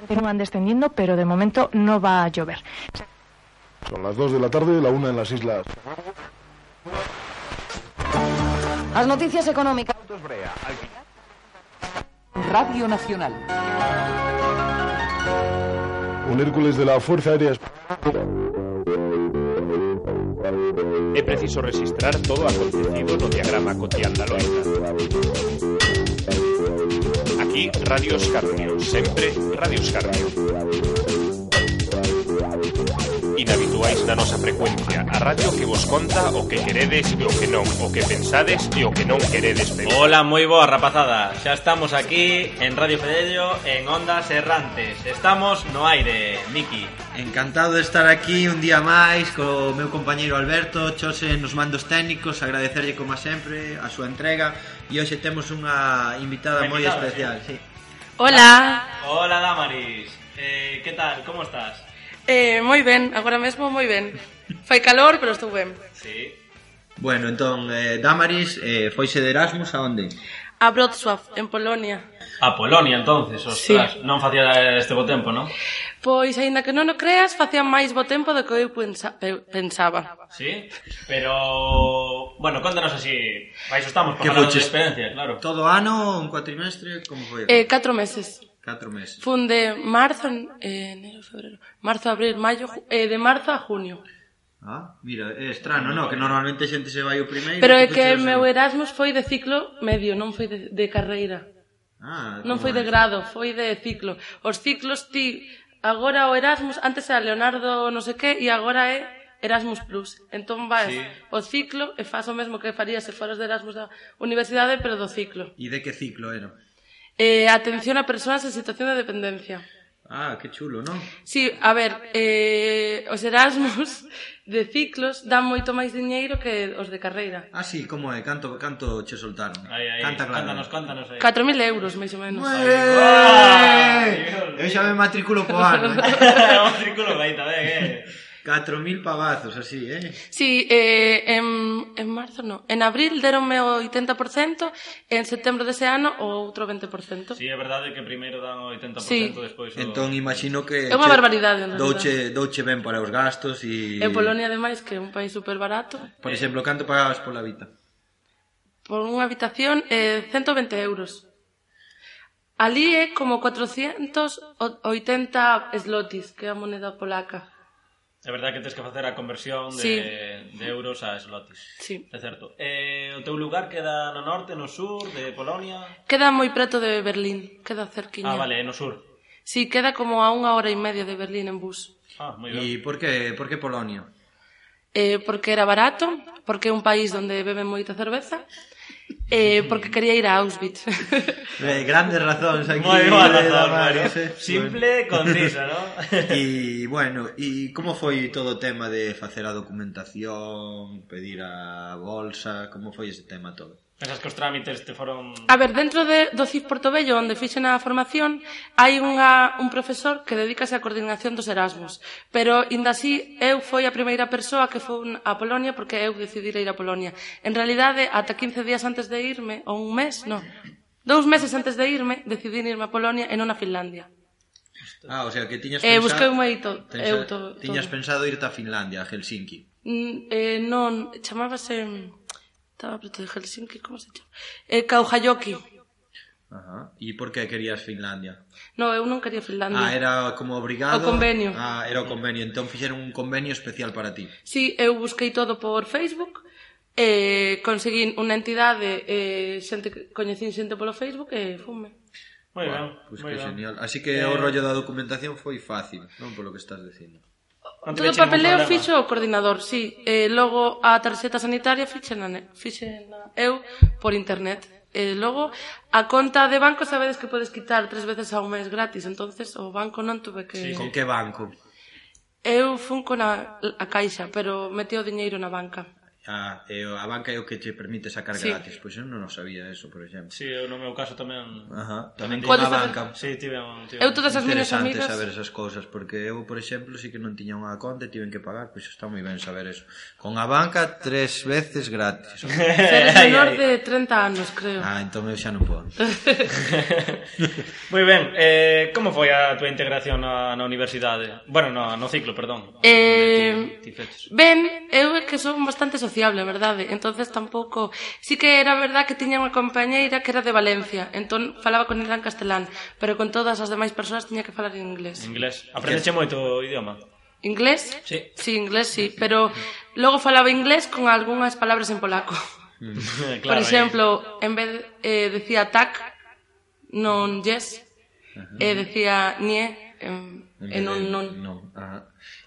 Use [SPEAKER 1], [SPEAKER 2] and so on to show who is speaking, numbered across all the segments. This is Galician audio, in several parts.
[SPEAKER 1] Continúan descendiendo, pero de momento no va a llover.
[SPEAKER 2] Son las 2 de la tarde, la 1 en las islas.
[SPEAKER 3] Las noticias económicas.
[SPEAKER 4] Radio Nacional.
[SPEAKER 2] Un Hércules de la Fuerza Aérea.
[SPEAKER 5] É preciso registrar todo acontecido no diagrama cotiandaloida. Aquí, Radio Escarnio, sempre Radio Escarnio. Inhabituais na nosa frecuencia, a radio que vos conta o que queredes e o que non, o que pensades e o que non queredes pensar.
[SPEAKER 6] Ola, moi boa rapazada Xa estamos aquí en Radio Fedello En Ondas Errantes Estamos no aire, Miki
[SPEAKER 7] Encantado de estar aquí un día máis co meu compañeiro Alberto Chose nos mandos técnicos Agradecerlle como sempre a súa entrega E hoxe temos unha invitada
[SPEAKER 6] Unha
[SPEAKER 7] moi
[SPEAKER 6] invitada,
[SPEAKER 7] especial sí.
[SPEAKER 8] Hola,
[SPEAKER 6] Ola, Damaris eh, Que tal, como estás?
[SPEAKER 8] eh, moi ben, agora mesmo moi ben Fai calor, pero estou ben
[SPEAKER 6] Sí
[SPEAKER 7] Bueno, entón, eh, Damaris eh, foise de Erasmus a onde?
[SPEAKER 8] A Wrocław, en Polonia
[SPEAKER 6] A Polonia, entonces, ostras
[SPEAKER 8] Sí.
[SPEAKER 6] Non facía este bo tempo, non?
[SPEAKER 8] Pois, aínda que non o creas, facía máis bo tempo do que eu pensa pe- pensaba
[SPEAKER 6] Sí, pero... Bueno, contanos así Vais, estamos para
[SPEAKER 7] Que
[SPEAKER 6] falar de
[SPEAKER 7] fuches?
[SPEAKER 6] experiencia, claro
[SPEAKER 7] Todo ano, un cuatrimestre, como foi?
[SPEAKER 8] Eh, catro meses
[SPEAKER 7] 4 meses
[SPEAKER 8] Fun de marzo, en- eh, enero, febrero Marzo, abril, maio, ju- eh, de marzo a junio
[SPEAKER 7] Ah, mira, é estrano, no? Que normalmente a xente se vai o primeiro
[SPEAKER 8] Pero
[SPEAKER 7] e
[SPEAKER 8] é
[SPEAKER 7] tú
[SPEAKER 8] que
[SPEAKER 7] chegas
[SPEAKER 8] o meu
[SPEAKER 7] aí.
[SPEAKER 8] Erasmus foi de ciclo medio, non foi de, de carreira
[SPEAKER 7] Ah,
[SPEAKER 8] Non
[SPEAKER 7] como
[SPEAKER 8] foi de
[SPEAKER 7] é?
[SPEAKER 8] grado, foi de ciclo. Os ciclos ti agora o Erasmus antes era Leonardo non sei que e agora é Erasmus Plus. Entón vas
[SPEAKER 6] Sí.
[SPEAKER 8] sí. o ciclo e fas o mesmo que farías se foras de Erasmus da universidade, pero do ciclo.
[SPEAKER 7] E de que ciclo era?
[SPEAKER 8] Eh, atención a persoas en situación de dependencia.
[SPEAKER 7] Ah, que chulo, non?
[SPEAKER 8] Sí, a ver, eh, os Erasmus de ciclos dan moito máis diñeiro que os de carreira.
[SPEAKER 7] Ah, sí, como é? Canto, canto che soltaron?
[SPEAKER 6] Ahí, ahí,
[SPEAKER 7] Canta claro.
[SPEAKER 6] contanos, contanos aí.
[SPEAKER 8] 4.000 euros, máis ou menos.
[SPEAKER 7] Ué! Eu xa me matriculo po ano.
[SPEAKER 6] Vamos a círculo, aí tamén, eh
[SPEAKER 7] 4.000 pavazos, así, eh?
[SPEAKER 8] Sí, eh, en, en marzo no. En abril deronme o 80%, en setembro dese ano o outro 20%.
[SPEAKER 6] Sí, é verdade que primeiro dan o 80%
[SPEAKER 8] Sí.
[SPEAKER 6] despois o...
[SPEAKER 7] Entón, imagino que...
[SPEAKER 8] É unha
[SPEAKER 7] che-
[SPEAKER 8] barbaridade, en realidad.
[SPEAKER 7] Douche, douche ben para os gastos e...
[SPEAKER 8] E Polonia, ademais, que é un país super barato,
[SPEAKER 7] Por exemplo, canto pagabas pola vita?
[SPEAKER 8] por unha habitación, eh, 120 euros. Ali é como 480 slotis, que é a moneda polaca.
[SPEAKER 6] É verdade que tens que facer a conversión de,
[SPEAKER 8] Sí.
[SPEAKER 6] de euros a slotis.
[SPEAKER 8] Sí.
[SPEAKER 6] É certo. Eh, o teu lugar queda no norte, no sur de Polonia?
[SPEAKER 8] Queda moi preto de Berlín, queda cerquiña.
[SPEAKER 6] Ah, vale, é no sur.
[SPEAKER 8] Sí, queda como a unha hora e media de Berlín en bus.
[SPEAKER 6] Ah, moi ben.
[SPEAKER 7] E por que, por que Polonia?
[SPEAKER 8] eh, porque era barato, porque é un país onde beben moita cerveza, eh, porque quería ir a Auschwitz.
[SPEAKER 7] Eh, grandes razóns aquí.
[SPEAKER 6] Moi boa
[SPEAKER 7] eh,
[SPEAKER 6] razón,
[SPEAKER 7] Damaris,
[SPEAKER 6] Mario.
[SPEAKER 7] eh.
[SPEAKER 6] Simple, concisa, non?
[SPEAKER 7] E, bueno, e como foi todo o tema de facer a documentación, pedir a bolsa, como foi ese tema todo?
[SPEAKER 6] Pensas que os trámites te foron...
[SPEAKER 8] a ver, dentro de, do CIF Portobello, onde fixen a formación, hai unha, un profesor que dedícase á coordinación dos Erasmus. Pero, inda así, eu foi a primeira persoa que fun a Polonia porque eu decidira ir a Polonia. En realidade, ata 15 días antes de irme, ou un mes, non, dous meses antes de irme, decidín irme a Polonia e non a Finlandia.
[SPEAKER 7] Ah, o sea, que tiñas
[SPEAKER 8] Eh,
[SPEAKER 7] pensado...
[SPEAKER 8] busquei un moito,
[SPEAKER 7] Tensa-
[SPEAKER 8] eu to, to,
[SPEAKER 7] Tiñas pensado irte a Finlandia, a Helsinki.
[SPEAKER 8] Mm, eh, non, chamábase... mm, Estaba preto de Helsinki, como se chama? Eh, Kauhajoki.
[SPEAKER 7] Ajá. E por que querías Finlandia?
[SPEAKER 8] No, eu non quería Finlandia.
[SPEAKER 7] Ah, era como obrigado...
[SPEAKER 8] O convenio.
[SPEAKER 7] Ah, era o convenio. Entón fixeron un convenio especial para ti.
[SPEAKER 8] Sí, eu busquei todo por Facebook, eh, conseguín unha entidade, eh, xente, que- coñecín xente polo Facebook e fume.
[SPEAKER 6] Moi ben,
[SPEAKER 7] Pois
[SPEAKER 6] moi
[SPEAKER 7] que
[SPEAKER 6] ben.
[SPEAKER 7] genial. Así que o rollo da documentación foi fácil, non polo que estás dicindo.
[SPEAKER 6] Non te
[SPEAKER 8] Todo o
[SPEAKER 6] peche ningún
[SPEAKER 8] papeleo
[SPEAKER 6] problema.
[SPEAKER 8] fixo o coordinador, sí. Eh, logo a tarxeta sanitaria fixena, fixena eu por internet. E eh, logo a conta de banco sabedes que podes quitar tres veces ao mes gratis, entonces o banco non tuve
[SPEAKER 6] Sí,
[SPEAKER 8] que...
[SPEAKER 6] sí.
[SPEAKER 7] Con que banco?
[SPEAKER 8] Eu fun con a, a caixa, pero metí o diñeiro na banca.
[SPEAKER 7] Ah, e o- a banca é o que te permite sacar
[SPEAKER 8] Sí.
[SPEAKER 7] gratis. Pois eu non o sabía eso, por exemplo.
[SPEAKER 4] Sí, eu no meu caso tamén...
[SPEAKER 7] Ajá, tamén tiña a
[SPEAKER 8] Podes facer-
[SPEAKER 7] banca.
[SPEAKER 4] Sí, tive un... Tive un-
[SPEAKER 8] Eu todas as miñas
[SPEAKER 7] Interesante
[SPEAKER 8] amigas...
[SPEAKER 7] saber esas cousas porque eu, por exemplo, sí que non tiña unha conta e tiven que pagar, pois está moi ben saber eso. Con a banca tres veces gratis.
[SPEAKER 8] Eres
[SPEAKER 4] Ai,
[SPEAKER 8] menor
[SPEAKER 4] ai.
[SPEAKER 8] de 30 anos, creo.
[SPEAKER 7] Ah, entón eu xa non podo.
[SPEAKER 4] Moi ben, eh, como foi a túa integración na, na universidade? Bueno, no, no ciclo, perdón.
[SPEAKER 8] Eh,
[SPEAKER 4] Onde Ti, ti feches.
[SPEAKER 8] Ben, eu é que son bastante sociable, a verdade Entonces tampouco Sí que era verdad que tiña unha compañeira que era de Valencia Entón falaba con ela en castelán Pero con todas as demais persoas tiña que falar en inglés
[SPEAKER 4] Inglés. Aprendeche moito o idioma?
[SPEAKER 8] Inglés?
[SPEAKER 4] Sí.
[SPEAKER 8] Sí, inglés, sí Pero logo falaba inglés con algunhas palabras en polaco
[SPEAKER 4] claro,
[SPEAKER 8] Por exemplo, en vez eh, decía tak Non yes E decía nie en, en un non
[SPEAKER 7] non. Ajá.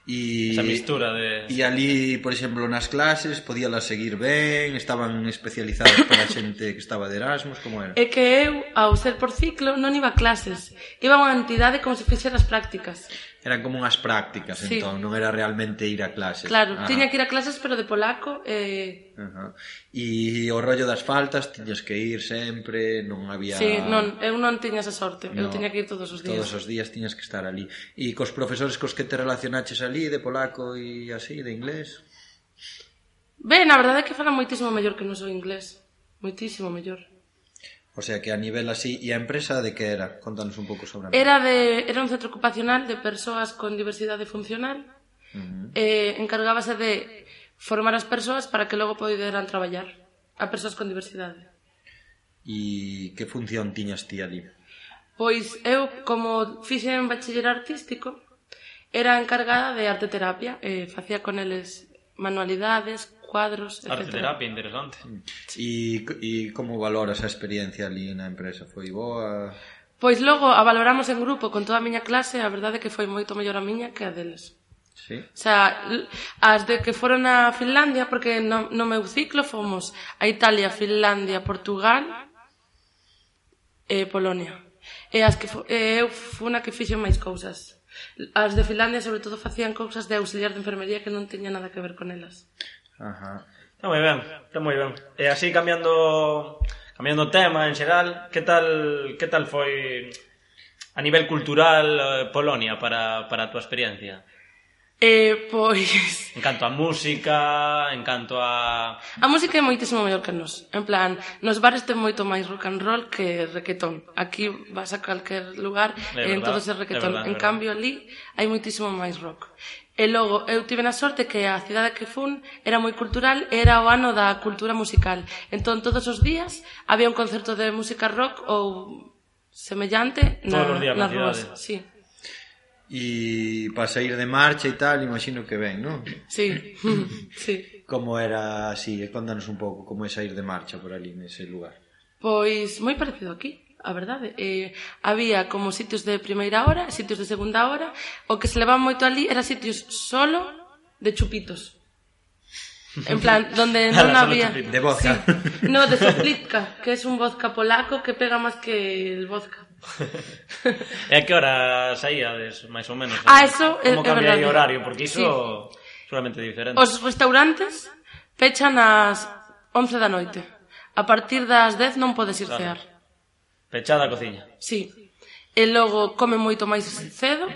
[SPEAKER 7] E
[SPEAKER 4] Esa mistura de...
[SPEAKER 7] E ali, por exemplo, nas clases podíalas seguir ben, estaban especializadas para a xente que estaba de Erasmus, como era?
[SPEAKER 8] É que eu, ao ser por ciclo, non iba a clases. Iba a unha entidade como se fixera as prácticas.
[SPEAKER 7] Eran como unhas prácticas,
[SPEAKER 8] Sí.
[SPEAKER 7] entón, non era realmente ir a clases.
[SPEAKER 8] Claro,
[SPEAKER 7] Ajá.
[SPEAKER 8] tiña que ir a clases, pero de polaco, eh,
[SPEAKER 7] Ajá. E o rollo das faltas tiñas que ir sempre, non había
[SPEAKER 8] sí, non, eu non tiña esa sorte.
[SPEAKER 7] No,
[SPEAKER 8] Eu tiña que ir todos os días.
[SPEAKER 7] Todos os días tiñas que estar ali. E cos profesores cos que te relacionaches ali de polaco e así, de inglés?
[SPEAKER 8] Ben, a verdade é que falan moitísimo mellor que non sou inglés. Moitísimo mellor.
[SPEAKER 7] O sea, que a nivel así, e a empresa de que era? Contanos un pouco sobre a
[SPEAKER 8] Era de era un centro ocupacional de persoas con diversidade funcional. Uh -huh. Eh, encargábase de formar as persoas para que logo poderan traballar a persoas con diversidade.
[SPEAKER 7] E que función tiñas ti ali?
[SPEAKER 8] Pois eu, como fixen bachiller artístico, era encargada de arte terapia, eh, facía con eles manualidades, cuadros, etc.
[SPEAKER 4] Arte terapia, interesante.
[SPEAKER 7] E, e como valoras a experiencia ali na empresa? Foi boa?
[SPEAKER 8] Pois logo a valoramos en grupo con toda a miña clase, a verdade é que foi moito mellor a miña que a deles.
[SPEAKER 7] Sí?
[SPEAKER 8] O sea, l- as de que foron a Finlandia, porque no, no meu ciclo fomos a Italia, Finlandia, Portugal e Polonia. E as que fo, e eu funa que fixen máis cousas. As de Finlandia, sobre todo, facían cousas de auxiliar de enfermería que non teña nada que ver con elas.
[SPEAKER 7] Ajá.
[SPEAKER 4] Está moi ben, está moi ben. E así cambiando cambiando o tema en xeral, que tal que tal foi a nivel cultural eh, Polonia para, para a túa experiencia?
[SPEAKER 8] E, pois,
[SPEAKER 4] En canto a música, en canto a...
[SPEAKER 8] A música é moitísimo mellor que nos. En plan, nos bares ten moito máis rock and roll que requetón. Aquí vas a calquer lugar
[SPEAKER 4] É
[SPEAKER 8] e en
[SPEAKER 4] verdad,
[SPEAKER 8] todos é
[SPEAKER 4] é
[SPEAKER 8] requetón.
[SPEAKER 4] verdad, é
[SPEAKER 8] en
[SPEAKER 4] verdad.
[SPEAKER 8] cambio, ali hai moitísimo máis rock. E logo, eu tive na sorte que a cidade que fun era moi cultural e era o ano da cultura musical. Entón, todos os días había un concerto de música rock ou semellante na,
[SPEAKER 4] Todos os días na
[SPEAKER 8] nas rúas.
[SPEAKER 4] cidade.
[SPEAKER 8] Sí,
[SPEAKER 7] E para sair de marcha e tal, imagino que ben, non?
[SPEAKER 8] sí, sí.
[SPEAKER 7] Como era así? E Contanos un pouco como é sair de marcha por ali nese lugar.
[SPEAKER 8] Pois moi parecido aquí, a verdade. Eh, había como sitios de primeira hora, sitios de segunda hora, o que se levaba moito ali era sitios solo de chupitos. En plan, donde
[SPEAKER 4] Ala,
[SPEAKER 8] non
[SPEAKER 4] solo
[SPEAKER 8] había...
[SPEAKER 4] chupitos.
[SPEAKER 7] De vodka.
[SPEAKER 8] Sí. No, de soplitka, que es un vodka polaco que pega máis que el vodka.
[SPEAKER 4] E a que hora saíades, máis ou menos?
[SPEAKER 8] Ah, eso é-
[SPEAKER 4] Como
[SPEAKER 8] é
[SPEAKER 4] cambia aí
[SPEAKER 8] verdade.
[SPEAKER 4] o horario, porque iso sí. seguramente diferente.
[SPEAKER 8] Os restaurantes fechan ás 11 da noite. A partir das 10 non podes ir
[SPEAKER 4] Claro.
[SPEAKER 8] cear.
[SPEAKER 4] Pechada a cociña.
[SPEAKER 8] Sí. E logo come moito máis cedo.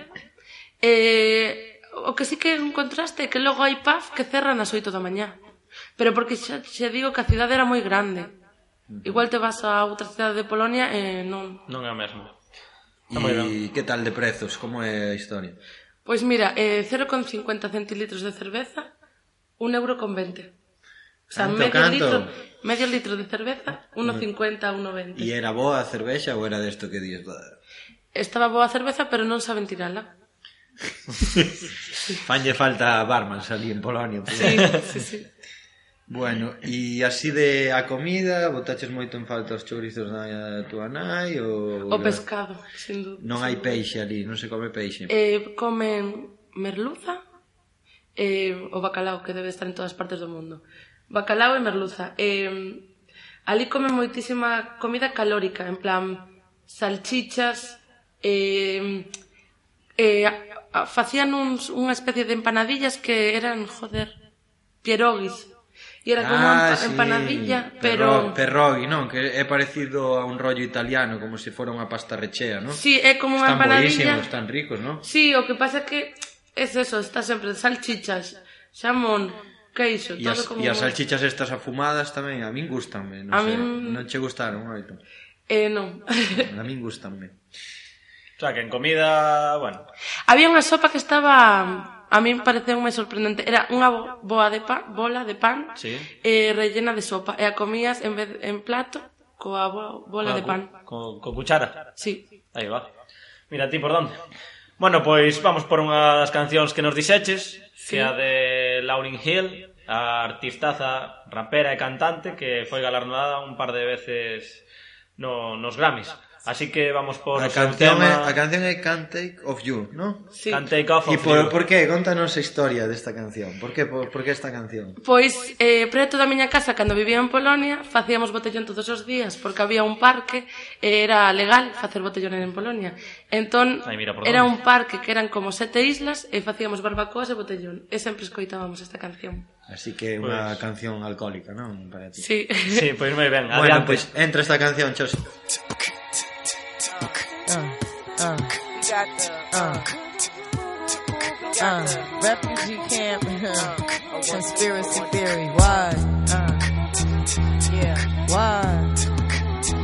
[SPEAKER 8] E o que sí que é un contraste é que logo hai pub que cerran ás 8 da mañá. Pero porque xa che digo que a cidade era moi grande. Igual te vas a outra cidade de Polonia e non.
[SPEAKER 4] Non é o mesmo. Está moi ben.
[SPEAKER 7] E que tal de prezos? Como é a historia?
[SPEAKER 8] Pois mira, eh, 0,50 centilitros de cerveza, 1 euro con 20. O sea,
[SPEAKER 7] Canto,
[SPEAKER 8] medio,
[SPEAKER 7] canto.
[SPEAKER 8] litro, medio litro de cerveza, 1,50 a 1,20.
[SPEAKER 7] E era boa a cervexa ou era desto que dís? "Bah,
[SPEAKER 8] Estaba boa a cerveza, pero non saben tirala.
[SPEAKER 7] Fanlle falta barman ali en Polonia.
[SPEAKER 8] Sí, sí, sí.
[SPEAKER 7] Bueno, e así de a comida, botaches moito en falta os chourizos da tua nai ou...
[SPEAKER 8] O pescado, sin dúvida.
[SPEAKER 7] Non hai peixe ali, non se come peixe.
[SPEAKER 8] Eh, comen merluza eh, o bacalao, que debe estar en todas partes do mundo. Bacalao e merluza. Eh, ali comen moitísima comida calórica, en plan salchichas, eh, eh, a- a- facían uns, unha especie de empanadillas que eran, joder, pierogis. e era como
[SPEAKER 7] Ah,
[SPEAKER 8] unha empa- empanadilla, pero...
[SPEAKER 7] Perroghi, non? Que é parecido a un rollo italiano, como se fora unha pasta rechea, non?
[SPEAKER 8] Sí, é como unha
[SPEAKER 7] están
[SPEAKER 8] empanadilla.
[SPEAKER 7] buenísimos, están ricos, non?
[SPEAKER 8] Sí, o que pasa é que es eso, está sempre salchichas, xamón, queixo,
[SPEAKER 7] E
[SPEAKER 8] todo
[SPEAKER 7] as,
[SPEAKER 8] como...
[SPEAKER 7] e as salchichas estas afumadas tamén, a min gustanme, non
[SPEAKER 8] A
[SPEAKER 7] sei,
[SPEAKER 8] min-
[SPEAKER 7] non che gustaron, oito.
[SPEAKER 8] Eh, non.
[SPEAKER 7] A min gustanme.
[SPEAKER 4] O sea, que en comida, bueno,
[SPEAKER 8] Había unha sopa que estaba a min pareceu moi sorprendente. Era unha bo- boa de pan, bola de pan
[SPEAKER 4] Sí.
[SPEAKER 8] eh, rellena de sopa. E a comías en vez en plato coa bo- bola de pan.
[SPEAKER 4] Con, con cuchara.
[SPEAKER 8] Sí.
[SPEAKER 4] Aí va. Mira ti por onde. Bueno, pois vamos por unha das cancións que nos dixeches, sí. que é a de Lauryn Hill, a artistaza, rapera e cantante que foi galardonada un par de veces no, nos Grammys. Así que vamos por o
[SPEAKER 7] A
[SPEAKER 4] seu
[SPEAKER 7] canción, é,
[SPEAKER 4] tema
[SPEAKER 7] a canción é Can't Take of You, non?
[SPEAKER 8] Sí.
[SPEAKER 4] Can't Take Off
[SPEAKER 7] E
[SPEAKER 4] of
[SPEAKER 7] por,
[SPEAKER 4] You.
[SPEAKER 7] por que? Contanos a historia desta canción. Por que, por, por que esta canción?
[SPEAKER 8] Pois, eh, preto da miña casa, cando vivía en Polonia, facíamos botellón todos os días, porque había un parque, e era legal facer botellón en Polonia. Entón,
[SPEAKER 4] Ai, mira, por
[SPEAKER 8] era
[SPEAKER 4] dónde.
[SPEAKER 8] un parque que eran como sete islas, e facíamos barbacoas e botellón. E sempre escoitábamos esta canción.
[SPEAKER 7] Así que é unha canción alcohólica, non? Para ti.
[SPEAKER 8] Sí.
[SPEAKER 4] Sí, pois moi ben.
[SPEAKER 7] Bueno,
[SPEAKER 4] Adiante.
[SPEAKER 7] pois pues, entra esta canción, Chos.
[SPEAKER 9] Uh, refugee camp, uh, conspiracy theory. Why? Uh, yeah, why?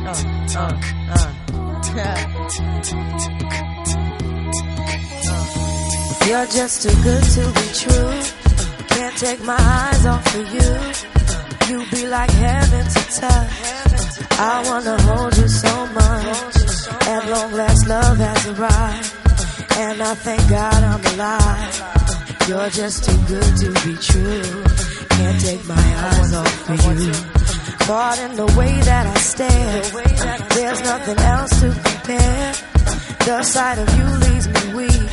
[SPEAKER 9] Uh, uh, uh. You're just too good to be true. Uh, Can't take my eyes off of you. Uh, You be like heaven to touch. Uh, I wanna hold you so much. At long last, love has arrived. Uh, And I thank God I'm alive. Uh, You're just too good to be true. Uh, Can't take my eyes off of you. Caught in the way that I stare. Uh, There's nothing else to compare. Uh, The sight of you leaves me weak.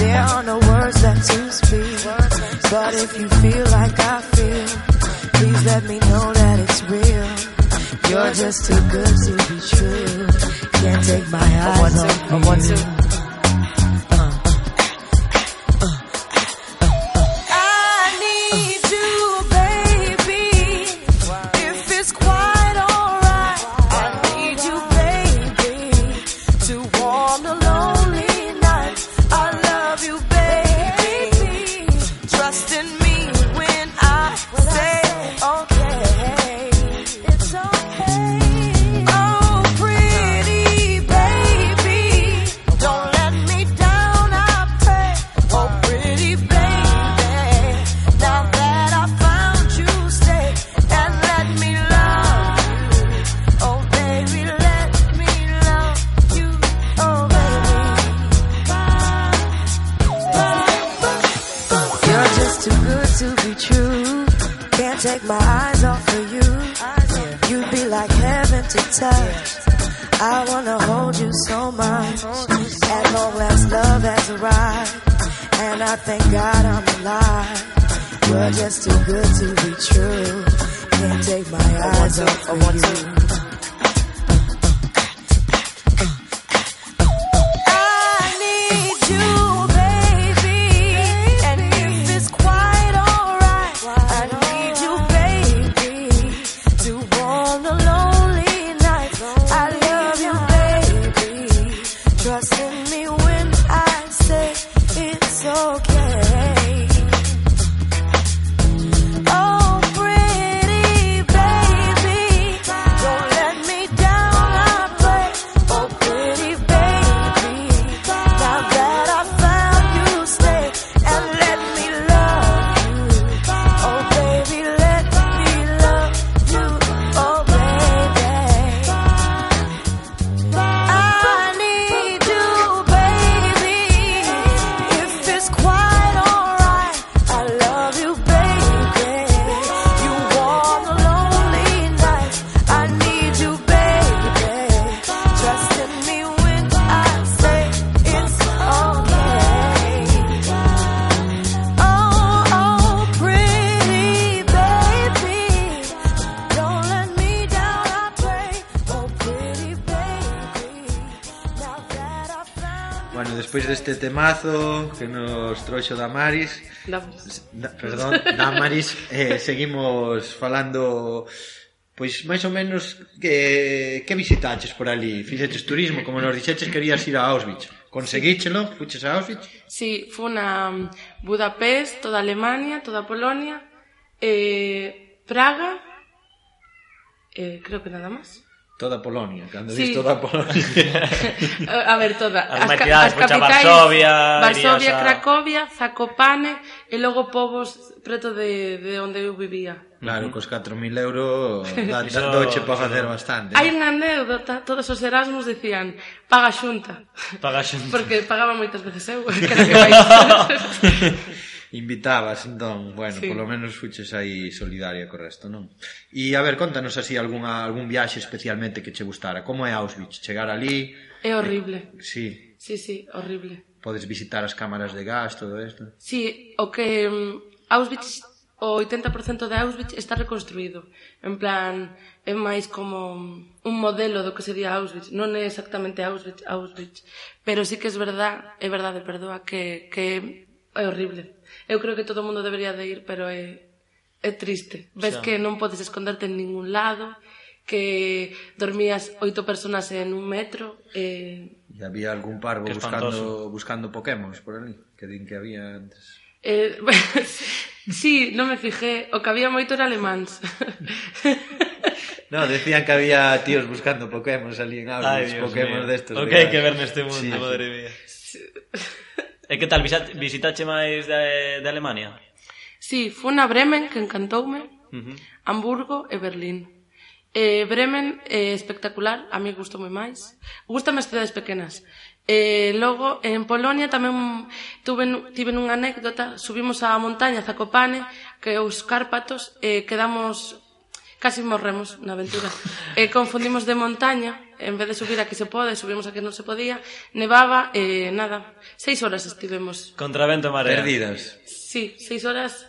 [SPEAKER 9] There are no words left to speak. But if you feel like I feel, please let me know that it's real. You're just too good to be true. Can't take my eyes off you. I need you, baby. If it's quite alright, I need you, baby, to warm the lonely night. I love you, baby. Trust in me when I say okay. It's okay. Oh, pretty baby, don't let me down. I pray. Oh, pretty baby, now that I found you, stay and let me love you. Oh, baby, let me love you. Oh, baby. Oh, You're just too good to be true. Can't take my eyes off of you. You'd be like heaven to touch. I wanna hold you so much. At long last, love has arrived. And I thank God I'm alive. You're just too good to be true. Can't take my eyes off of you. I need you, baby. And if it's quite alright, I need you, baby, to warm the lonely night. I love you, baby. Trust in me when I say it's okay. Oh, pretty baby, don't let me down. I pray. Oh, pretty baby, now that I found you, stay and let me love you. Oh, baby, let me love you. Oh, baby, I need you, Oh,
[SPEAKER 7] Bueno, despois deste temazo que nos trouxo da Maris,
[SPEAKER 8] Damos.
[SPEAKER 7] da, perdón, da Maris, eh, seguimos falando pois máis ou menos que que visitaches por ali? Fixeches turismo, como nos dixeches querías ir a Auschwitz. Conseguíchelo? Fuches a Auschwitz?
[SPEAKER 8] Sí, fue una mm, Budapest, toda Alemania, toda Polonia, eh, Praga, eh, creo que nada más.
[SPEAKER 7] Toda Polonia, cando
[SPEAKER 8] Sí.
[SPEAKER 7] sí. dis toda Polonia.
[SPEAKER 8] Eh, A ver, toda.
[SPEAKER 4] As metidades, pois, a Varsovia,
[SPEAKER 8] Varsovia,
[SPEAKER 4] irías a-
[SPEAKER 8] Cracovia, Zakopane e logo povos preto de, de onde eu vivía.
[SPEAKER 7] Claro, cos 4.000 euros da, da,
[SPEAKER 4] Iso-
[SPEAKER 7] doche para facer bastante.
[SPEAKER 8] Hai unha anécdota, todos os Erasmus dicían paga a xunta,
[SPEAKER 4] Paga xente.
[SPEAKER 8] porque pagaba moitas veces eu, cada que vais.
[SPEAKER 7] Invitabas, entón, bueno, sí.
[SPEAKER 8] Sí.
[SPEAKER 7] polo menos fuches aí solidaria co resto, non? E a ver, contanos así algunha, algún viaxe especialmente que che gustara. Como é Auschwitz? Chegar ali,
[SPEAKER 8] É horrible.
[SPEAKER 7] sí,
[SPEAKER 8] Sí, sí, horrible.
[SPEAKER 7] podes visitar as cámaras de gas, todo isto.
[SPEAKER 8] Sí, o que mm, Auschwitz o 80% de Auschwitz está reconstruído. En plan, é máis como mm, un modelo do que sería Auschwitz. Non é exactamente Auschwitz, Auschwitz. Pero sí que é verdad, é verdade, perdoa, que, que é horrible. Eu creo que todo o mundo debería de ir, pero é, é triste. Ves que non podes esconderte en ningún lado, que dormías oito personas en un metro, eh,
[SPEAKER 7] E había algún parvo
[SPEAKER 4] Que
[SPEAKER 7] buscando,
[SPEAKER 4] espantoso.
[SPEAKER 7] buscando pokémons por ali, que din que había antes.
[SPEAKER 8] Eh, sí, non me fijé. O que había moito era alemáns.
[SPEAKER 7] No, decían que había tíos buscando pokémons ali en
[SPEAKER 4] Ai,
[SPEAKER 7] Auschwitz,
[SPEAKER 4] Dios
[SPEAKER 7] pokémons
[SPEAKER 4] mío.
[SPEAKER 7] destos.
[SPEAKER 4] O
[SPEAKER 7] de
[SPEAKER 4] que hai
[SPEAKER 7] gas.
[SPEAKER 4] que ver neste mundo,
[SPEAKER 7] Sí, sí.
[SPEAKER 4] madre mía. E que tal, visita- visitache máis de, de Alemania?
[SPEAKER 8] sí, fun a Bremen, que encantoume,
[SPEAKER 4] Ujú.
[SPEAKER 8] Hamburgo e Berlín. Eh, Bremen é eh, espectacular, a mí gustoume máis. Gústame as cidades pequenas. Eh, logo, en Polonia tamén tuve, tiven unha anécdota, subimos á montaña Zakopane, que é os Cárpatos, eh, quedamos casi morremos na aventura. E confundimos de montaña, en vez de subir a que se pode, subimos a que non se podía, nevaba, eh, nada, seis horas estivemos.
[SPEAKER 4] Contravento e marea.
[SPEAKER 7] Perdidas.
[SPEAKER 8] Sí, seis horas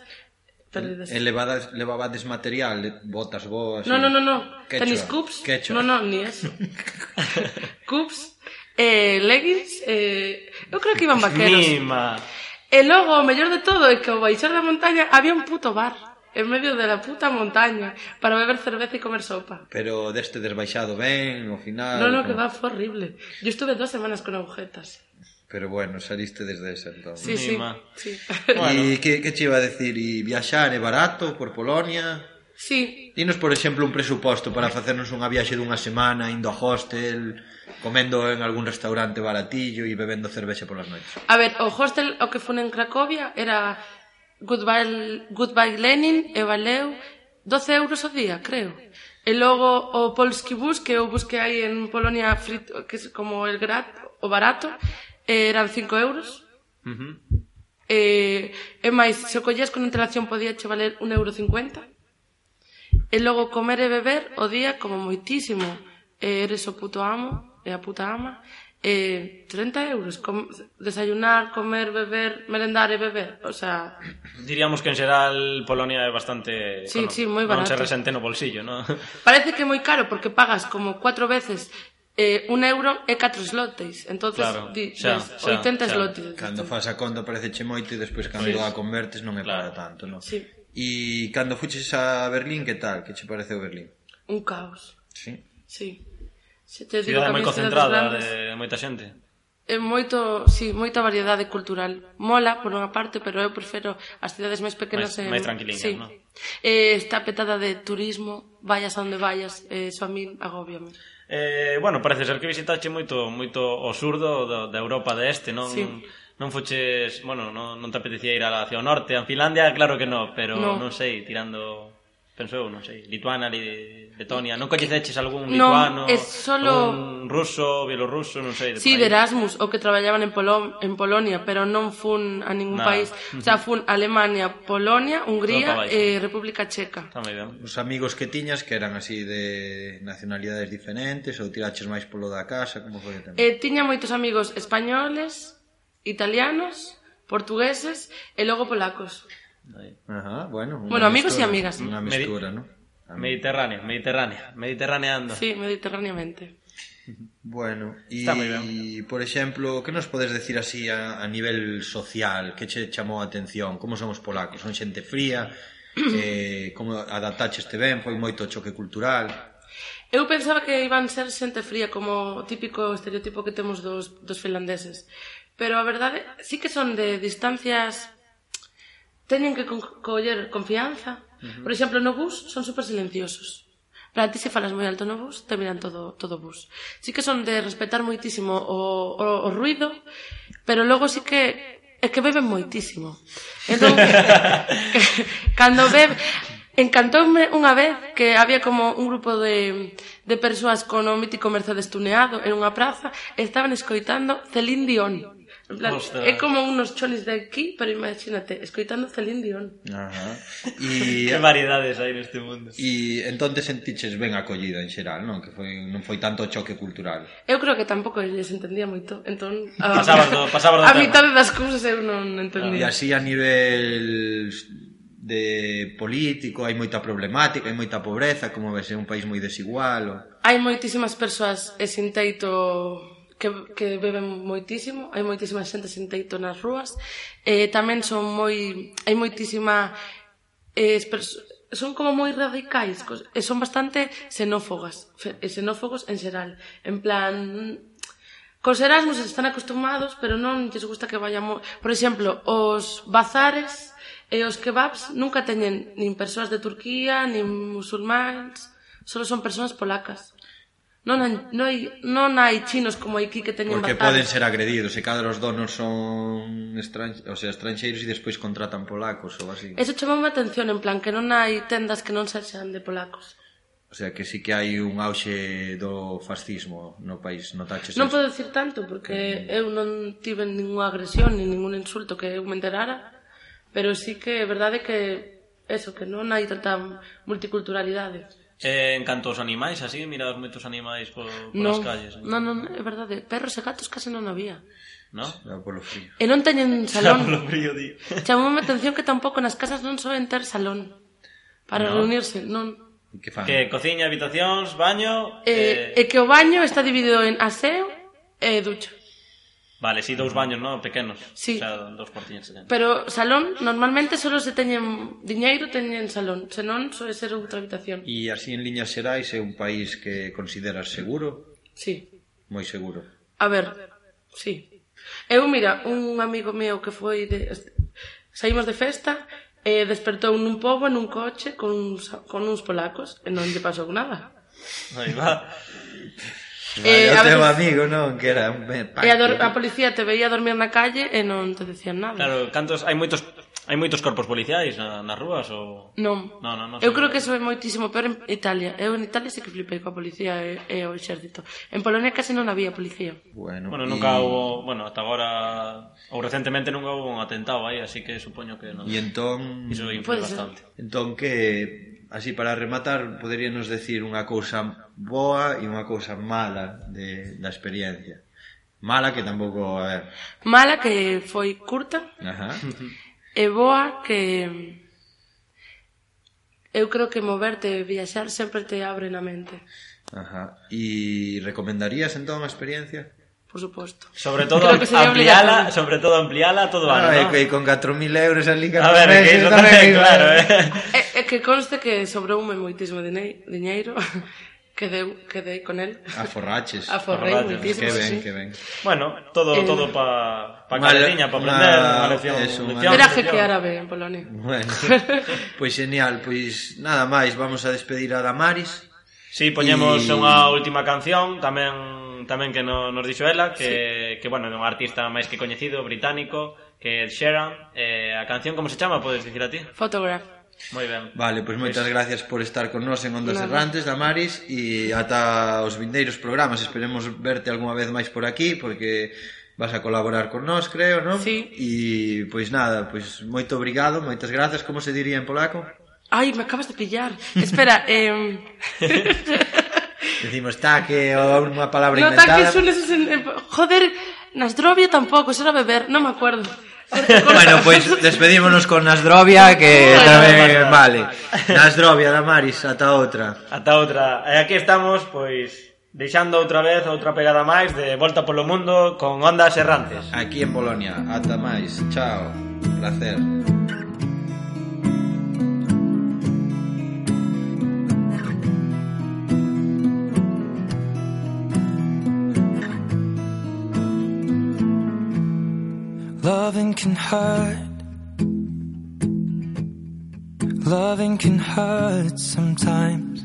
[SPEAKER 8] perdidas.
[SPEAKER 7] Elevadas, levabades material, eh, botas boas.
[SPEAKER 8] No,
[SPEAKER 7] e-
[SPEAKER 8] no, no, no.
[SPEAKER 7] Quechua,
[SPEAKER 8] Tenis cups.
[SPEAKER 7] Quechua.
[SPEAKER 8] No, no, ni eso. cups, eh, leggings, eh, eu creo que iban vaqueros.
[SPEAKER 4] Mima.
[SPEAKER 8] E logo, o mellor de todo, é que ao baixar da montaña había un puto bar en medio de la puta montaña para beber cerveza e comer sopa.
[SPEAKER 7] Pero deste desbaixado ben, ao final...
[SPEAKER 8] No, no, que
[SPEAKER 7] como-
[SPEAKER 8] va, fue horrible. Yo estuve dos semanas con agujetas.
[SPEAKER 7] Pero bueno, saliste desde ese entón.
[SPEAKER 8] Sí, sí,
[SPEAKER 4] Mima.
[SPEAKER 8] sí.
[SPEAKER 7] E que, que che iba a decir? E viaxar é barato por Polonia?
[SPEAKER 8] sí,
[SPEAKER 7] Dinos, por exemplo, un presuposto para facernos unha viaxe dunha semana indo a hostel, comendo en algún restaurante baratillo e bebendo cervexa polas noites.
[SPEAKER 8] A ver, o hostel o que fun en Cracovia era Goodbye, Goodbye Lenin e valeu 12 euros o día, creo. E logo o Polski Bus, que é o bus que hai en Polonia frito, que é como el grat, o barato, eran 5 euros.
[SPEAKER 4] Ujú.
[SPEAKER 8] E, e máis, se o collías con antelación podía che valer 1,50 euro. E logo comer e beber o día como moitísimo. E eres o puto amo e a puta ama. E 30 euros. Com, desayunar, comer, beber, merendar e beber. O sea,
[SPEAKER 4] Diríamos que en xeral Polonia é bastante...
[SPEAKER 8] Sí,
[SPEAKER 4] económico.
[SPEAKER 8] sí, moi
[SPEAKER 4] Non se
[SPEAKER 8] barato.
[SPEAKER 4] resente no bolsillo, non?
[SPEAKER 8] parece que é moi caro porque pagas como 4 veces eh, un euro e 4 slotes. Entonces,
[SPEAKER 4] Claro,
[SPEAKER 8] di,
[SPEAKER 4] xa,
[SPEAKER 8] ves,
[SPEAKER 4] xa,
[SPEAKER 8] 80
[SPEAKER 4] xa.
[SPEAKER 8] slotes.
[SPEAKER 7] Cando fas a conta parece che moito e despois cando
[SPEAKER 4] Pois.
[SPEAKER 7] a convertes non é
[SPEAKER 4] Claro.
[SPEAKER 7] para tanto, non?
[SPEAKER 8] Sí.
[SPEAKER 7] E cando fuches a Berlín, que tal? Que che pareceu Berlín?
[SPEAKER 8] Un caos.
[SPEAKER 7] Sí.
[SPEAKER 8] Sí. Se te digo que
[SPEAKER 4] Cidade
[SPEAKER 8] a
[SPEAKER 4] moi
[SPEAKER 8] mí as cidades
[SPEAKER 4] concentrada,
[SPEAKER 8] grandes-
[SPEAKER 4] de moita xente.
[SPEAKER 8] É moito, sí, moita variedade cultural. Mola, por unha parte, pero eu prefiro as cidades máis pequenas
[SPEAKER 4] Máis- máis tranquiliñas,
[SPEAKER 8] sí.
[SPEAKER 4] non?
[SPEAKER 8] Eh, está petada de turismo, vayas a onde vayas, eh, eso a min agobiame.
[SPEAKER 4] Eh, bueno, parece ser que visitache moito moito o sur do, do, da Europa de este, non?
[SPEAKER 8] Sí.
[SPEAKER 4] Non foches, bueno, non, non te apetecía ir a- hacia o norte, a Finlandia, claro que non, pero
[SPEAKER 8] No.
[SPEAKER 4] no. non sei, tirando penso eu, non sei, Lituana, li, Letonia, non coñeceches algún
[SPEAKER 8] No,
[SPEAKER 4] lituano,
[SPEAKER 8] é solo-
[SPEAKER 4] un ruso, bielorruso, non sei, de
[SPEAKER 8] Sí,
[SPEAKER 4] por
[SPEAKER 8] de
[SPEAKER 4] aí.
[SPEAKER 8] Erasmus, o que traballaban en, Polo en Polonia, pero non fun a ningún
[SPEAKER 4] Nada.
[SPEAKER 8] país. O sea, fun a Alemania,
[SPEAKER 4] Todo
[SPEAKER 8] Polonia,
[SPEAKER 4] pa
[SPEAKER 8] Hungría
[SPEAKER 4] baixo.
[SPEAKER 8] e República Checa.
[SPEAKER 4] Está moi ben.
[SPEAKER 7] Os amigos que tiñas que eran así de nacionalidades diferentes ou tiraches máis polo da casa, como foi o tema?
[SPEAKER 8] Eh, tiña moitos amigos españoles, italianos, portugueses e logo polacos.
[SPEAKER 7] Ajá, bueno,
[SPEAKER 8] Bueno, amigos y amigas.
[SPEAKER 7] Una
[SPEAKER 4] Medi-
[SPEAKER 7] mistura, ¿no?
[SPEAKER 4] Mediterráneo, Mediterráneo, mediterraneando.
[SPEAKER 8] Sí, mediterráneamente.
[SPEAKER 7] Bueno, y
[SPEAKER 4] Está muy bien.
[SPEAKER 7] E, por exemplo, que nos podes decir así a, a nivel social? Que che chamou a atención? Como son os polacos? Son xente fría? Eh, como adaptacheste ben? Foi moito choque cultural?
[SPEAKER 8] Eu pensaba que iban ser xente fría como o típico estereotipo que temos dos, dos finlandeses. Pero a verdade, sí que son de distancias teñen que con- coller confianza. Uh -huh. Por exemplo, no bus son super silenciosos. Para ti se falas moi alto no bus, te miran todo todo o bus. Sí que son de respetar moitísimo o, o, o ruido, pero logo sí que é que beben moitísimo. Entón, cando bebe... Encantoume unha vez que había como un grupo de, de persoas con o mítico Mercedes tuneado en unha praza e estaban escoitando Celine Dion. En plan,
[SPEAKER 4] Ostras.
[SPEAKER 8] é como unos chonis de aquí, pero imagínate, escoitando Celine Dion.
[SPEAKER 7] Ajá.
[SPEAKER 4] Que
[SPEAKER 7] E,
[SPEAKER 4] variedades hai neste mundo.
[SPEAKER 7] e entón te eh, sentiches ben acollida en xeral, non? Que foi, non foi tanto choque cultural.
[SPEAKER 8] Eu creo que tampouco les entendía moito, entón... A,
[SPEAKER 4] Pasabas do- pasabas do
[SPEAKER 8] a
[SPEAKER 4] tema.
[SPEAKER 8] mitade das cousas eu
[SPEAKER 7] E
[SPEAKER 8] non entendía.
[SPEAKER 7] así a nivel de político hai moita problemática, hai moita pobreza, como ves, é un país moi desigual. O...
[SPEAKER 8] Hai moitísimas persoas e sin teito que, que beben moitísimo, hai moitísima xente sin teito nas rúas, e tamén son moi... hai moitísima... Eh, perso- son como moi radicais, cos- e son bastante xenófogas, fe- e xenófogos en xeral. En plan, Cos Erasmus están acostumados, pero non lles gusta que vayamos... Por exemplo, os bazares e os kebabs nunca teñen nin persoas de Turquía, nin musulmáns, solo son persoas polacas. Non hai, non hai, non hai chinos como aquí que teñen
[SPEAKER 7] Porque
[SPEAKER 8] bazares.
[SPEAKER 7] poden ser agredidos, e cada os donos son estran... o sea, estranxeiros e despois contratan polacos ou así.
[SPEAKER 8] Eso chamou a atención, en plan, que non hai tendas que non sexan de polacos.
[SPEAKER 7] O sea, que sí que hai un auxe do fascismo no país, notaches
[SPEAKER 8] Non
[SPEAKER 7] eso?
[SPEAKER 8] podo dicir tanto, porque eu non tive ninguna agresión, nin ningún insulto que eu me enterara, pero sí que é verdade que eso, que non hai tanta multiculturalidade.
[SPEAKER 4] Eh, en canto aos animais, así, mirados moitos animais por, por
[SPEAKER 8] Non,
[SPEAKER 4] as calles.
[SPEAKER 8] non, non, é verdade, perros e gatos case non había.
[SPEAKER 4] ¿No?
[SPEAKER 7] Era Polo frío.
[SPEAKER 8] E non teñen
[SPEAKER 4] Polo
[SPEAKER 8] salón.
[SPEAKER 4] frío, di.
[SPEAKER 8] Chamoume a atención que tampouco nas casas non soen ter salón para
[SPEAKER 4] No.
[SPEAKER 8] reunirse, non.
[SPEAKER 7] E que fan?
[SPEAKER 4] Que cociña, habitacións, baño... eh,
[SPEAKER 8] E, e que o baño está dividido en aseo e ducha.
[SPEAKER 4] Vale, sí, dous baños, ¿no? Pequenos.
[SPEAKER 8] Sí.
[SPEAKER 4] O sea, dous cuartiños. pequenos.
[SPEAKER 8] Pero salón, normalmente solo se teñen diñeiro, teñen salón, senón soe ser outra habitación.
[SPEAKER 7] E así en liñas xerais é un país que consideras seguro,
[SPEAKER 8] Sí.
[SPEAKER 7] moi seguro.
[SPEAKER 8] A ver, sí. Eu, mira, un amigo meu que foi de... Saímos de festa e despertou nun pobo nun coche con uns, con uns polacos e non lle pasou nada.
[SPEAKER 4] Aí va.
[SPEAKER 8] Eh,
[SPEAKER 7] Vaya,
[SPEAKER 8] a
[SPEAKER 7] o teu
[SPEAKER 8] veces-
[SPEAKER 7] amigo, non? Que era un...
[SPEAKER 8] E a, dor, a policía te veía dormir na calle e non te decían nada.
[SPEAKER 4] Claro, cantos... Hai moitos... Hai moitos corpos policiais na, nas rúas ou...
[SPEAKER 8] Non.
[SPEAKER 4] No, no, no,
[SPEAKER 8] eu
[SPEAKER 4] sí.
[SPEAKER 8] creo que eso é moitísimo peor en Italia. Eu en Italia sí que flipei coa policía e, e o exército. En Polonia case non había policía.
[SPEAKER 7] Bueno,
[SPEAKER 4] Bueno, nunca
[SPEAKER 7] e-
[SPEAKER 4] houbo... Bueno, hasta agora... Ou recentemente nunca houbo un atentado aí, así que supoño que non.
[SPEAKER 7] E entón,
[SPEAKER 4] Iso influe
[SPEAKER 8] Puede ser.
[SPEAKER 4] bastante.
[SPEAKER 7] entón que así para rematar poderíanos decir unha cousa boa e unha cousa mala de, da experiencia. Mala que tampouco, a ver.
[SPEAKER 8] Mala que foi curta,
[SPEAKER 7] Ajá.
[SPEAKER 8] E boa que eu creo que moverte e viaxar sempre te abre na mente,
[SPEAKER 7] Ajá. E recomendarías entón a experiencia?
[SPEAKER 8] por suposto.
[SPEAKER 4] Sobre todo
[SPEAKER 8] Creo que sería
[SPEAKER 4] ampliala,
[SPEAKER 8] obligatorio.
[SPEAKER 4] sobre todo ampliala todo o ano,
[SPEAKER 7] Ah,
[SPEAKER 4] ¿no?
[SPEAKER 7] e con 4.000 euros ali
[SPEAKER 4] A
[SPEAKER 7] cada
[SPEAKER 4] ver,
[SPEAKER 7] mes,
[SPEAKER 4] que iso
[SPEAKER 7] tamén
[SPEAKER 4] tamén,
[SPEAKER 7] hai-
[SPEAKER 4] claro, eh.
[SPEAKER 8] E, e que conste que sobroume moitísimo dinei- diñeiro que deu, que dei con el.
[SPEAKER 7] A forraches.
[SPEAKER 8] Aforrei
[SPEAKER 4] Forraches,
[SPEAKER 8] moitísimo,
[SPEAKER 7] que ben,
[SPEAKER 8] sí.
[SPEAKER 7] que ben.
[SPEAKER 4] Bueno, todo
[SPEAKER 8] Eh,
[SPEAKER 4] todo pa pa
[SPEAKER 7] Una-
[SPEAKER 4] calentiña, pa
[SPEAKER 7] una-
[SPEAKER 4] aprender, una, lección,
[SPEAKER 7] eso, una-
[SPEAKER 4] lección,
[SPEAKER 8] Era
[SPEAKER 4] lección.
[SPEAKER 8] jeque árabe en Polonia.
[SPEAKER 7] Bueno, pois genial, pois nada máis, vamos a despedir a Damaris.
[SPEAKER 4] Sí, poñemos
[SPEAKER 7] Y-
[SPEAKER 4] unha última canción tamén tamén que no, nos dixo ela que, sí. que bueno, é un artista máis que coñecido británico que é Ed Sheeran eh, a canción como se chama, podes dicir a ti?
[SPEAKER 8] Photograph.
[SPEAKER 4] Moi ben
[SPEAKER 7] Vale, pois moitas gracias por estar con nós en Ondas
[SPEAKER 8] Nada.
[SPEAKER 7] Errantes, Damaris, e ata os vindeiros programas. Esperemos verte algunha vez máis por aquí, porque vas a colaborar con nós, creo, non?
[SPEAKER 8] Sí.
[SPEAKER 7] E pois nada, pois moito obrigado, moitas grazas, como se diría en polaco?
[SPEAKER 8] Ai, me acabas de pillar. Espera, eh...
[SPEAKER 7] Decimos taque ou unha palabra
[SPEAKER 8] no
[SPEAKER 7] inventada.
[SPEAKER 8] tanques unes... En... Joder, Nasdrovia tampouco, será beber, non me acuerdo.
[SPEAKER 7] Bueno, pois despedímonos con Nasdrovia que
[SPEAKER 8] Bueno,
[SPEAKER 7] tamén vale. Nasdrovia, Damaris, ata outra.
[SPEAKER 4] Ata outra, e aquí estamos, pois Deixando outra vez outra pegada máis de Volta polo Mundo con Ondas Errantes.
[SPEAKER 7] Aquí en Bolonia. Ata máis. Chao. Placer.
[SPEAKER 9] Loving can hurt. Loving can hurt sometimes.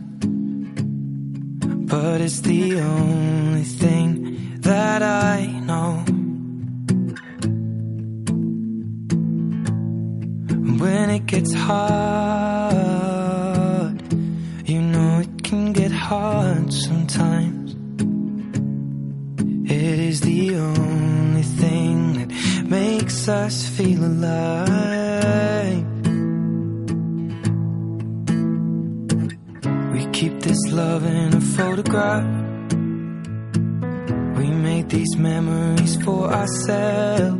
[SPEAKER 9] But it's the only thing that I know. When it gets hard, you know it can get hard sometimes. It is the only thing that makes us feel alive. We keep this love in a photograph. We made these memories for ourselves.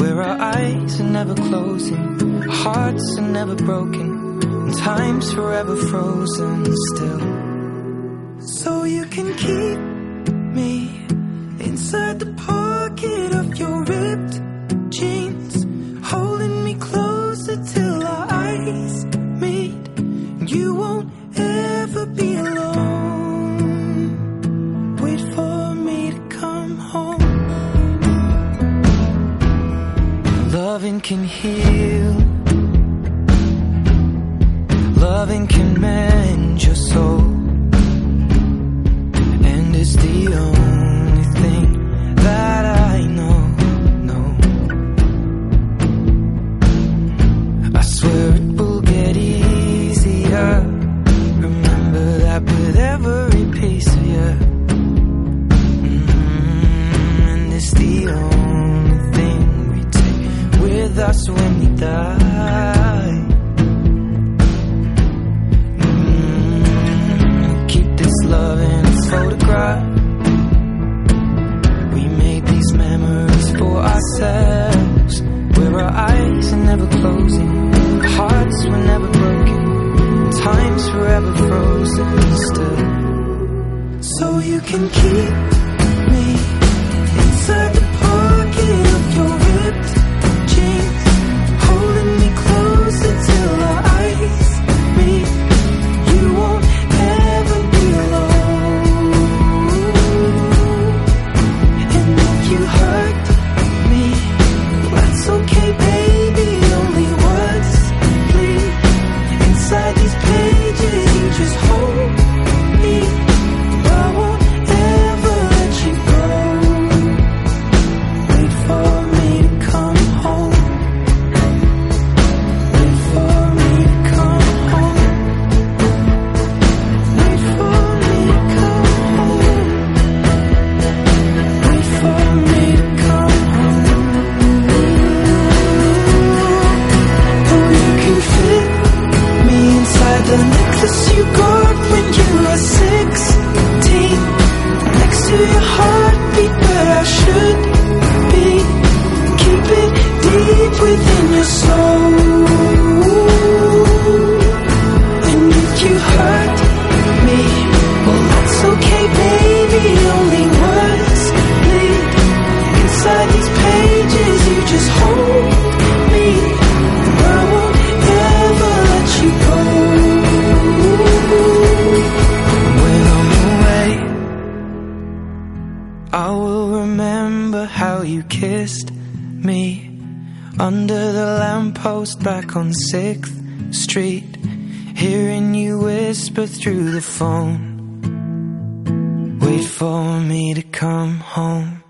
[SPEAKER 9] Where our eyes are never closing, our hearts are never broken, and time's forever frozen still. So you can keep me inside the pocket of your ripped jeans, holding me closer till our eyes meet. You won't ever be alone. Wait for me to come home. Loving can heal. Loving can mend your soul. And it's the only thing that I know. know. I swear it will get easier. Remember that with every piece of you. Mm, and it's the only thing we take with us when we die. Mm, keep this love in a photograph. We made these memories for ourselves. Where our eyes are never closing, our hearts were never broken, time's forever frozen still. So you can keep me inside the pocket of your ripped jeans, holding me closer till our eyes meet. You won't ever be alone. And if you hurt me, that's okay, baby. Only words bleed inside these pages. You just hold me. I won't ever let you go. Wait for me to come home. Wait for me to come home. Wait for me to come home. Wait for me to come home. Oh, you can fit me inside the necklace you got when you were sixteen, next to your heartbeat where I should be. Keep it deep within your soul. And if you hurt me, well that's okay, baby. Only words bleed inside these pages. You just hold me. I won't ever let you go. When I'm away, I will remember how you kissed me under the lamppost back on 6th Street, hearing you whisper through the phone. Wait for me to come home.